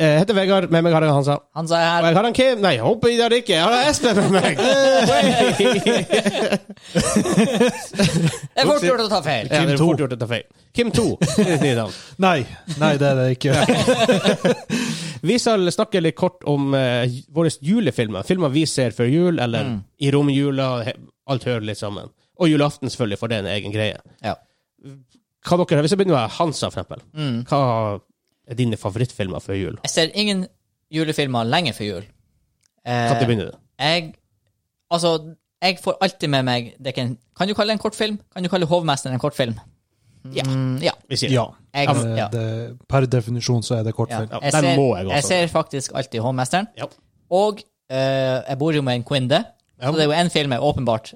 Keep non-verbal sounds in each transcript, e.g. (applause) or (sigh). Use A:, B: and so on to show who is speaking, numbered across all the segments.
A: Jeg heter Vegard, med meg har jeg Hansa.
B: Han sa
A: Og
B: her
A: jeg har han Kim. Nei, jeg håper jeg har ikke. Jeg har Espen med (laughs) meg. Hey!
B: (laughs) Det er fort gjort å ta feil.
A: Ja, det er fort
C: 2.
A: gjort å ta feil. Kim (laughs) 2. Litt nye navn.
C: Nei, nei, det er det (laughs) ikke.
A: Vi skal snakke litt kort om eh, j- våre julefilmer. Filmer vi ser før jul, eller i romjula. he- Alt hører litt sammen. Og julaften, selvfølgelig, for det er en egen greie.
B: Ja.
A: Hva dere, Hvis jeg begynner med Hansa, for eksempel. Hva er dine favorittfilmer før jul?
B: Jeg ser ingen julefilmer lenge før jul.
A: Når
B: Eh,
A: begynner du?
B: jeg Altså, jeg får alltid med meg det kan, kan du kalle det en kortfilm? Kan du kalle Hovmesteren en kortfilm? Ja. Mm, ja.
A: Vi sier det.
C: Ja.
B: Jeg,
C: Eh,
B: ja.
C: Det, per definisjon så er det
B: ja.
C: kortfilm.
B: Jeg,
A: den
B: ser,
A: må jeg også.
B: jeg ser faktisk alltid Hovmesteren.
A: Ja.
B: Og eh, jeg bor jo med en kvinne, så det er jo en film jeg åpenbart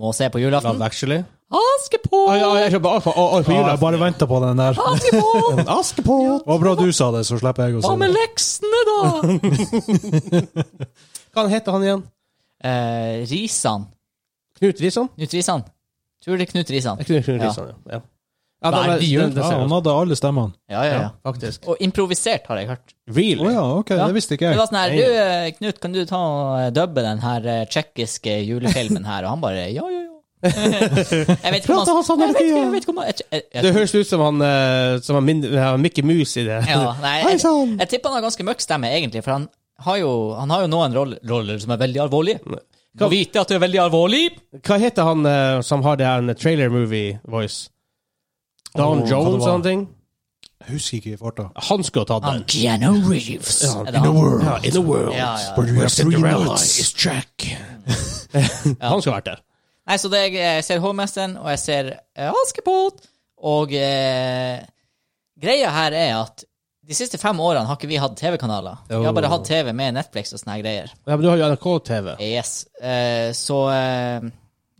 B: må se på julaften.
A: Love Actually.
B: Askepott!
A: jeg kjøper Alfa
C: Ja, Ah! jeg bare venter på den der.
A: (laughs)
B: Askepott!
A: Askepott!
C: Det var bra du sa det, så slipper jeg å
B: Hva
C: si
B: med
C: det.
B: leksene, da?
A: Hva heter han igjen?
B: Eh, Risan.
A: Knut Risan?
B: Knut Risan. Tror det er Knut Risan.
A: Jeg kunne Knut
B: Ja.
A: Risan, ja. ja. ja
B: Nei, de gjør
C: Ja, han hadde alle stemmene.
B: Ja, ja, ja.
A: Faktisk.
B: Og improvisert, har jeg hørt.
A: Really?
C: Å ja, ok,
B: Ja.
C: det visste ikke
B: Det
C: jeg.
B: var sånn her Du, eh, Knut, kan du ta og eh, dubbe den her eh, tsjekkiske julefilmen her? Og han bare Ja, ja, (laughs) ja. jeg vet ikke om
A: Prata
B: han
A: han sånn hele
B: Jeg vet ikke-
A: tiden?
B: jeg vet ikke om han jeg- jeg- jeg-
A: Det høres ut som han eh, som han min, ja, Mickey Mouse i det.
B: Ja, nei,
A: Hei sånn.
B: jeg,
A: sann!
B: jeg tipper han har ganske mørk stemme, egentlig, for han har jo, han har jo noen roll- roller som er veldig alvorlige. Må vite at du er veldig alvorlig.
A: (laughs) Hva heter han eh, som har det her trailer movie voice? Don
C: Åh, hva det
A: Jones
C: var.
A: og ting?
C: Jeg husker ikke i farta.
A: Han skulle ha tatt
B: Han
A: den.
B: Keanu Reeves.
A: Ja,
B: Er det han?
C: world.
A: Ja, in the world.
B: Ja, ja.
C: Where you have three nuts.
A: Jack. Han skulle vært der.
B: Nei, så det, jeg ser Hovmesteren, og jeg ser eh, Askepott, og eh, greia her er at de siste fem årene har ikke vi hatt TV-kanaler. Vi har bare hatt TV med Netflix og sånne her greier.
A: Ja, men du har jo NRK-TV.
B: Yes. Eh, så eh,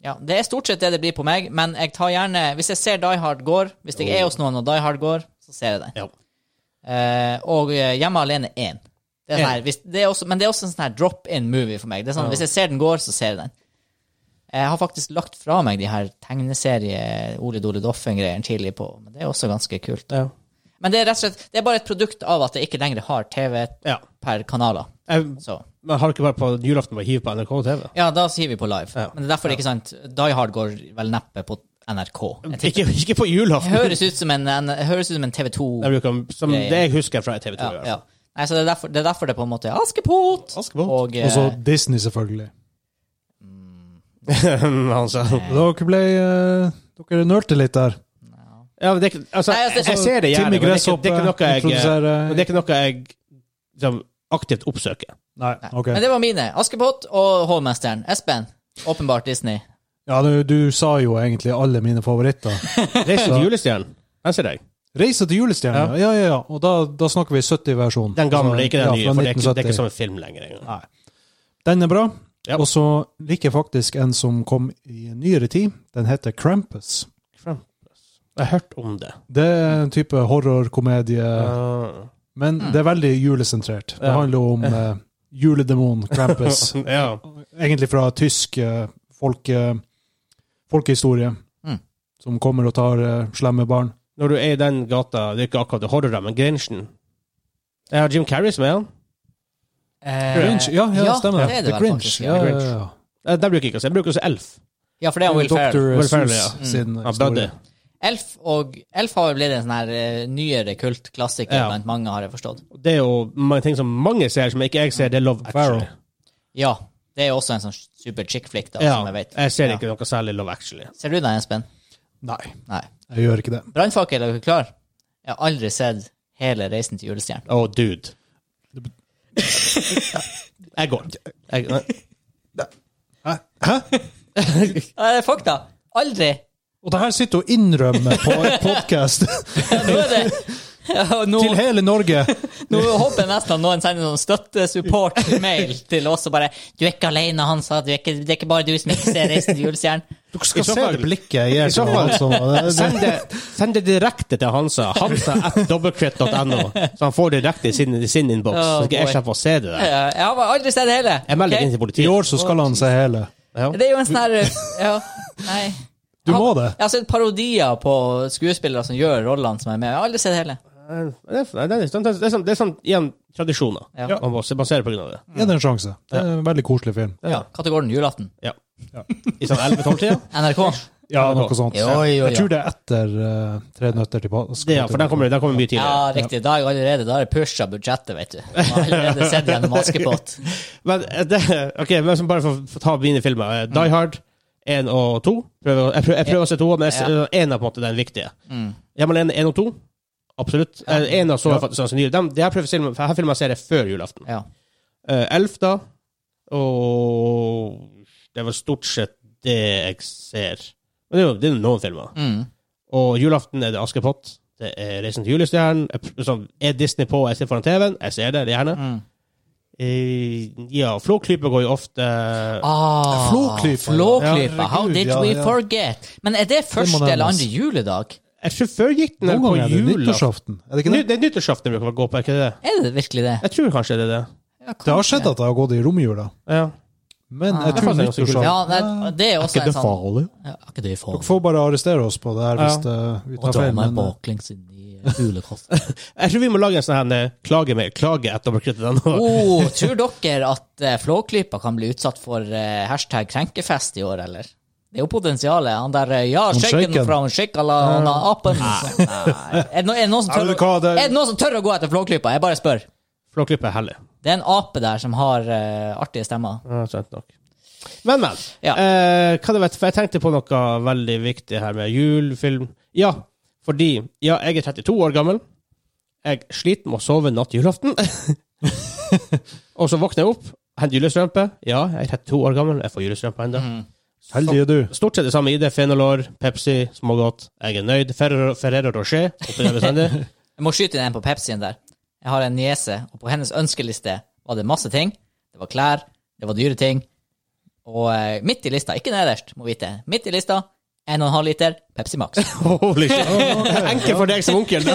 B: ja, det er stort sett det det blir på meg, men jeg tar gjerne Hvis jeg ser Die Hard går, hvis jeg er hos noen og Die Hard går, så ser jeg den.
A: Ja.
B: Eh, og eh, Hjemme alene 1. Det er sånn
A: En.
B: her, hvis, det er også, men det er også en sånn her drop-in-movie for meg. Det er sånn, Hvis jeg ser den går, så ser jeg den. Jeg har faktisk lagt fra meg de her tegneserie-Ole Dole Doffen-greiene tidlig på, men det er også ganske kult.
A: Ja.
B: Men det er rett og slett, det er bare et produkt av at jeg ikke lenger har TV
A: ja.
B: per kanaler.
A: Jeg,
B: Så.
A: men har du ikke vært på julaften og hiv på NRK-TV?
B: Ja, da sier vi på live.
A: Ja.
B: Men det er derfor det ikke sant, Die Hard går vel neppe på NRK. Jeg
A: Ikke, ikke på
B: tipper-
A: julaften.
B: høres ut som en, en, høres ut som en TV 2.
A: Jeg bruker, som
B: Ja, ja.
A: det altså. jeg husker fra TV 2.
B: Ja, ja. Nei, så det er, derfor, det er derfor det på en måte er Askepott.
A: Askepott.
B: Og, eh,
C: Og så Disney, selvfølgelig.
A: (laughs) Han sa
C: Dere ble eh, Dere nølte litt der.
A: ja, men det, er ikke- altså,
B: Nei, altså,
A: Jeg ser det gjerne,
C: Timmy
A: men det er ikke,
C: Gresshoppe
A: det er ikke noe jeg, eh,
C: introduserer
A: men det er ikke noe jeg liksom, aktivt oppsøker.
C: Nei, ok.
B: Men det var mine. Askepott og Hovmesteren. Espen. Åpenbart Disney.
C: Ja, du, du sa jo egentlig alle mine favoritter.
A: Reisen til julestjernen. Den ser jeg.
C: 'Reise til julestjerna', ja, ja, ja. Og da, da snakker vi 70-versjonen.
A: Den gamle, ikke den nye.
C: Ja,
A: For
C: fra
A: det er ikke, det er ikke
C: 1970.
A: som en film lenger. engang.
C: Nei. Den er bra.
A: Ja.
C: Og så liker jeg faktisk en som kom i nyere tid. Den heter Krampus.
A: Jeg har hørt om det.
C: Det er en type horrorkomedie,
A: (laughs)
C: men det er veldig julesentrert. Det
A: Ja.
C: handler om eh, juledemonen
A: (laughs)
C: Krampus.
A: ja.
C: Egentlig fra tysk eh, folke, folkehistorie,
B: Mm.
C: som kommer og tar eh, slemme barn.
A: Når du er i den gata, det er ikke akkurat horror, men Grinchen. Jeg har Jim Carrey som er han.
C: Eh, Grinch, ja, ja, stemmer.
B: Det er det
C: The
B: vel
C: Grinch.
B: faktisk.
C: Ja,
B: Ja.
C: ja, ja.
A: Eh, Den bruker jeg ikke å se. Jeg bruker å se Elf.
B: ja, for det er Will Ferrell.
C: Dr.
A: Will Ferrell, ja.
C: Seuss
A: Mm.
C: sin
A: Ja, Buddy.
C: historie.
B: Elf, og, Elf har jo blitt en sånn her eh, nyere kultklassiker
A: Ja.
B: blant mange, har jeg forstått.
A: Det er jo mange ting som mange ser, som ikke jeg ser. Det er Love Actually.
C: Ferrell.
B: Ja. Det er jo også en sånn super chick flick, da,
A: Ja,
B: som jeg vet.
A: jeg ser
B: Ja.
A: ikke noe særlig Love Actually.
B: Ser du den, Espen?
C: Nei,
B: Nei.
C: jeg gjør ikke det.
B: Brannfakkel, er du klar? Jeg har aldri sett hele Reisen til julestjernen.
A: Å, dude. Jeg går. Jeg, nei.
B: Nei, det er fakta! Aldri!
C: Og det her sitter og innrømmer på en
B: (laughs)
C: podkast
B: Ja, nå er det ja, nå,
C: til hele Norge.
B: Nå håper jeg nesten at noen sender noen støttesupport-mail til oss og bare 'Du er ikke alene, Hansa. Du er ikke, det er ikke bare du som ikke ser Reisen til julestjernen'.
D: Dere
A: I
D: skal
A: så
D: se
A: fall-
D: det blikket jeg gir
A: så
D: til
A: fall-
D: han som
A: (laughs) Send det, send det direkte til Hansa. Hansa at dobbeltcrit.no. Så han får det direkte i sin, i sin innboks.
B: Oh,
A: så skal jeg
B: boy.
A: slippe å se det
B: Ja,
A: der.
B: Eh, Jeg har bare aldri sett det hele.
A: Jeg melder det inn
B: Ok?
A: til
C: I
A: politiet.
C: år så skal han se hele.
A: Ja.
B: Det er jo en sånn her Ja, nei.
C: Du må det.
B: Jeg har sett parodier på skuespillere som gjør rollene som er med. Jeg har aldri sett det hele.
A: Det er- det er sånn, det er sånn, det er sånn igjen, tradisjoner.
B: Ja.
A: Man må se- basere på grunn av det.
C: Gi det en sjanse. Det er en veldig koselig film.
A: Ja.
B: Kategorien julaften.
A: Ja. I sånn (laughs) 11-12-tida?
B: NRK.
C: Ja, noe sånt.
B: Jo, jo, jo.
C: Jeg tror det er etter eh, Tre nøtter til Paris.
A: Ja, for der kommer, der kommer mye tidligere.
B: Ja, riktig. Da har jeg allerede da har jeg pusha budsjettet, vet du. Jeg har allerede sett gjennom Askepott.
A: Men eh, det, (laughs) ok, men så bare for å ta mine filmer. eh, Die Hard 1 og 2. Prøver, å- jeg, prøver, jeg prøver å se to, men
B: Mm. Ja. Mm.
A: 1 er på en måte den viktige. Hjemmelen 1 og 2. Absolutt. Eh, En av så er faktisk ganske nylig. Dem- Det her prøver jeg å filme- for her filmer jeg serier før julaften.
B: Ja.
A: Eh, Elfta og Det er vel stort sett det jeg ser. Men det er jo, det er jo noen filmer.
B: Mm.
A: Og julaften er det Askepott. Det er Reisen til julestjernen. Jeg pr- Sånn, er Disney på, jeg sitter foran TV-en? Jeg ser det, gjerne.
B: Mm.
A: Eh, ja, Flåklypa går jo ofte
B: Ah,
C: Flåklypa.
B: Flåklypa. How
C: Herregud,
B: did
C: ja,
B: we
C: ja.
B: forget? Men er det første
C: nevnes.
B: eller andre juledag?
A: Jeg tror før gikk den
C: Noen
A: på
C: ganger er det
A: jula.
C: nyttårsaften. Er det ikke
A: Ny,
C: det?
A: det er nyttårsaften vi kan gå på, er ikke det det?
B: Er det virkelig det?
A: Jeg tror kanskje det er det.
C: Det har skjedd at jeg har gått i romjula,
A: Ja.
C: men jeg
A: Det er
C: tror
A: faktisk ganske
C: nyttårsaften
B: Ja, nei, det er
C: Er
B: også
C: ikke
B: en
C: det
B: sånn
C: farlig?
B: Ja, er ikke det
C: Dere
B: farlig?
C: får bare arrestere oss på det her hvis eh, vi
B: Å
C: tar
B: dra
C: feil.
B: meg
C: Men, eh,
B: baklengs inn i julekofferten.
C: (laughs)
A: Jeg tror vi må lage en sånn her eh, klage med klage etter overkrittet. (laughs)
B: Oh, tror dere at eh, Flåklypa kan bli utsatt for eh, hashtag krenkefest i år, eller? Det er jo potensialet. Han der eh, Ja,
C: Han
B: shaken
C: shaken.
B: fra Shikala han har apen. Nei. (laughs) Er det no- er det noen som
C: Ja,
B: tør
C: vet du hva,
B: å-
C: det-
B: er det noen som tør å gå etter Flåklypa? Jeg bare spør.
A: Flåklypa er hellig.
B: Det er en ape der som har eh, artige stemmer.
A: Ja, sant nok. Men, men.
B: Ja.
A: Eh, hva det vet, for jeg tenkte på noe veldig viktig her med julefilm. Ja, fordi ja, jeg er 32 år gammel. Jeg sliter med å sove natt til julaften. (laughs) og så våkner jeg opp, henter julestrømpe. Ja, jeg er 32 år gammel, jeg får julestrømpe ennå.
C: Heldig er du.
A: Stort sett det samme ID. Fenolor, Pepsi, smågodt. Jeg er nøyd. Ferrero, Ferrero Rocher. oppi der bestandig.
B: Jeg må skyte inn en på Pepsien der. Jeg har en niese, og på hennes ønskeliste var det masse ting. Det var klær, det var dyre ting. Og eh, midt i lista, ikke nederst, må vite, midt i lista, 1,5 liter Pepsi
A: (laughs)
B: Max.
A: (laughs) Holy shit. (laughs) Enkel for deg som (laughs) onkel. så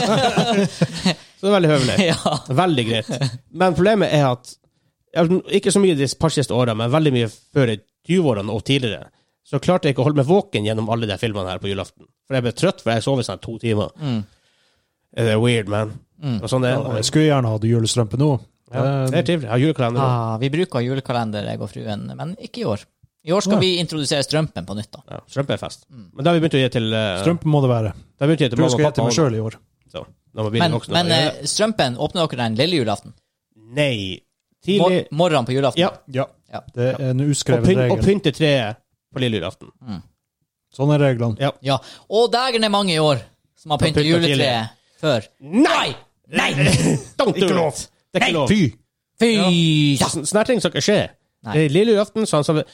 A: det er veldig høvelig.
B: ja.
A: Veldig (laughs) greit. Men problemet er at altså, Ikke så mye de par siste årene, men veldig mye før i 20-årene og tidligere. Så klarte jeg ikke å holde meg våken gjennom alle de filmene her på julaften. For jeg ble trøtt, for jeg sov i sånn to timer.
B: Mm.
A: Det er weird, man. Og sånn det
C: Ja,
A: er.
C: Jeg skulle gjerne hatt julestrømpe nå. Eh,
A: Ja, det er trivelig. Jeg har julekalender nå.
B: Ah, vi bruker julekalender, jeg og fruen, men ikke i år. I år skal
C: Nei.
B: vi introdusere strømpen på nytt, da.
A: Ja, strømpe er fest. Men da har vi begynt å gi til eh,
C: Strømpe må det være.
A: Da har vi begynt å gi til
C: Tror jeg
A: mamma og
C: skal gjette
A: pappa.
C: meg
A: også.
C: sjøl i år.
A: Så, når man blir
B: Men,
A: voksen,
B: men
A: da-
B: eh, strømpen åpner dere den lille julaften?
A: Nei.
B: Mor
A: Tidlig
B: morgenen på julaften?
A: Ja.
C: Ja.
B: Ja.
C: Det er en
A: Og,
C: uskreven
A: pynt, og
C: regel.
A: pynte treet på lille julaften.
C: Sånn er reglene.
B: Ja. Og dægen er mange i år som har pyntet
A: pyntet
B: juletreet før.
A: Nei! Nei! (laughs) Don't do
C: Ikke lov.
A: it! Det er ikke lov.
C: Fy!
B: Fy!
A: Ja.
B: Ja.
A: Sånn- Sånne her ting skal ikke skje.
B: Nei.
A: Det er lille julaften, så han sa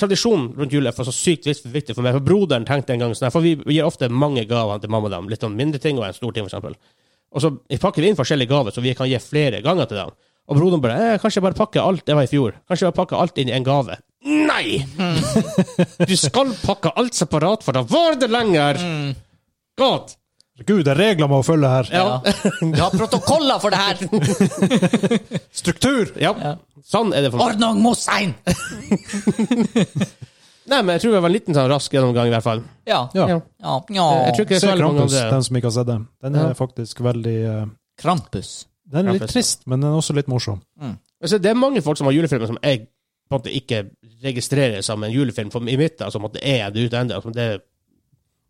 A: Tradisjonen rundt jul er for så sykt viktig for meg. For broderen tenkte en gang sånn her, For vi vi gir ofte mange gaver til mamma og dem. Litt sånn mindre ting og en stor ting, for eksempel. Og så pakker vi inn forskjellige gaver, så vi kan gi flere ganger til dem. Og broderen bare eh, 'Kanskje jeg bare pakker alt Det var i fjor. Kanskje jeg bare pakker alt inn i en gave.' Nei! du skal pakke alt separat, for da varer det lenger. God.
C: Gud, det er regler med å følge her.
B: Vi har protokoller for det her!
A: Struktur! Ja. Sånn er det for meg.
B: Ordnung muss sein!
A: Nei, men jeg tror det var en liten sånn rask gjennomgang, i hvert fall.
B: Ja.
C: Ja.
A: Ja.
B: ja.
A: Jeg tror ikke det er
C: Se
A: så veldig mange
C: Krampus,
A: andre.
C: den som ikke har sett den. Den er
A: Ja.
C: faktisk veldig eh,
B: Krampus.
C: Den er litt
A: Krampus, ja.
C: trist, men den er også litt morsom.
A: Altså, det er mange folk som har julefilmer som jeg på en måte ikke registrerer som en julefilm for i mitt, altså, på en måte er jeg det ute enda, altså, det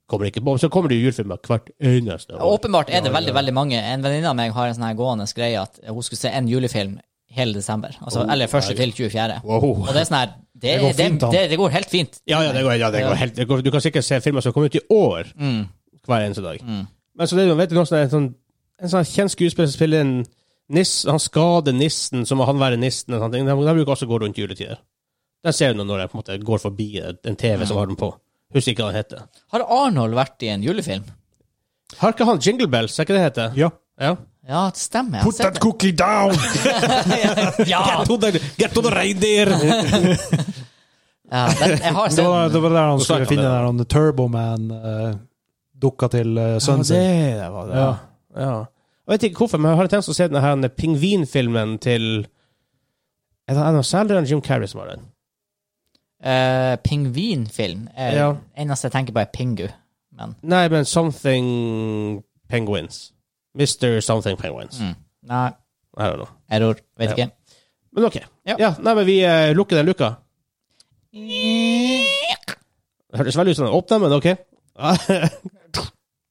A: kommer ikke på. Så kommer det jo julefilmer hvert eneste
B: Ja,
A: år.
B: Åpenbart er det veldig veldig mange. En venninne av meg har en sånn her gående greie at hun skulle se en julefilm hele desember. Altså, eller første til 24.
A: Wow.
B: Og det er sånn her det,
C: Det går
B: det,
C: fint, da.
B: det, det går helt fint.
A: Ja, ja, det går, ja, det går helt, det går, du kan sikkert se filmer som kommer ut i år, hver eneste dag. Men så det er jo, vet du, noe som er en sånn, en sånn kjent skuespiller som spiller en niss, han skader nissen, så må han være nissen, og sånne ting. Den, den bruker også å gå rundt juletider. Den ser du nå når jeg på en måte går forbi en TV som har den på. Husker ikke hva den heter.
B: Har Arnold vært i en julefilm?
A: Har ikke han Jingle Bells, er ikke det det heter?
C: Ja.
A: Ja.
B: Ja, det stemmer. jeg har
C: Put
B: sett
C: that cookie down!
B: det. (laughs) ja,
A: Get to the, get to the reindeer!
B: ja den, jeg har
C: Det
B: sett
C: var,
B: den.
C: det var der han
A: Nå snakker han
C: skulle finne
A: det, da.
C: den Turboman-dukka til eh, sønnen sin.
A: Ja, det var det. Ja. Ja. Jeg vet ikke hvorfor, men jeg har tenkt å se denne her pingvinfilmen til Er det Adam Sandler eller Jim Carrey som har den?
B: Eh, Pingvinfilm. Eh,
A: Ja.
B: Eneste jeg tenker på, er Pingu. Men
A: Nei, men Something Penguins. Mr. Something Penguins.
B: mm. nei,
A: I don't know.
B: error. Vet
A: Ja.
B: ikke.
A: Men OK.
B: Ja.
A: Ja. nei, men vi eh, lukker den luka. Det hørtes veldig ut som den åpna, men OK. (laughs)